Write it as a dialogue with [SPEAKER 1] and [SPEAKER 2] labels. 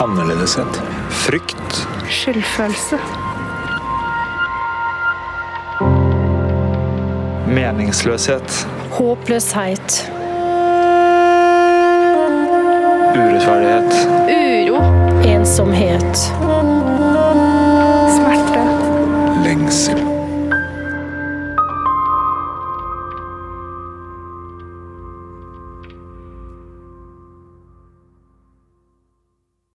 [SPEAKER 1] Annerledeshet. Frykt.
[SPEAKER 2] Skyldfølelse.
[SPEAKER 1] Meningsløshet.
[SPEAKER 3] Håpløshet.
[SPEAKER 1] Urettferdighet.
[SPEAKER 2] Uro.
[SPEAKER 3] Ensomhet.
[SPEAKER 2] Smerte.
[SPEAKER 1] Lengsel.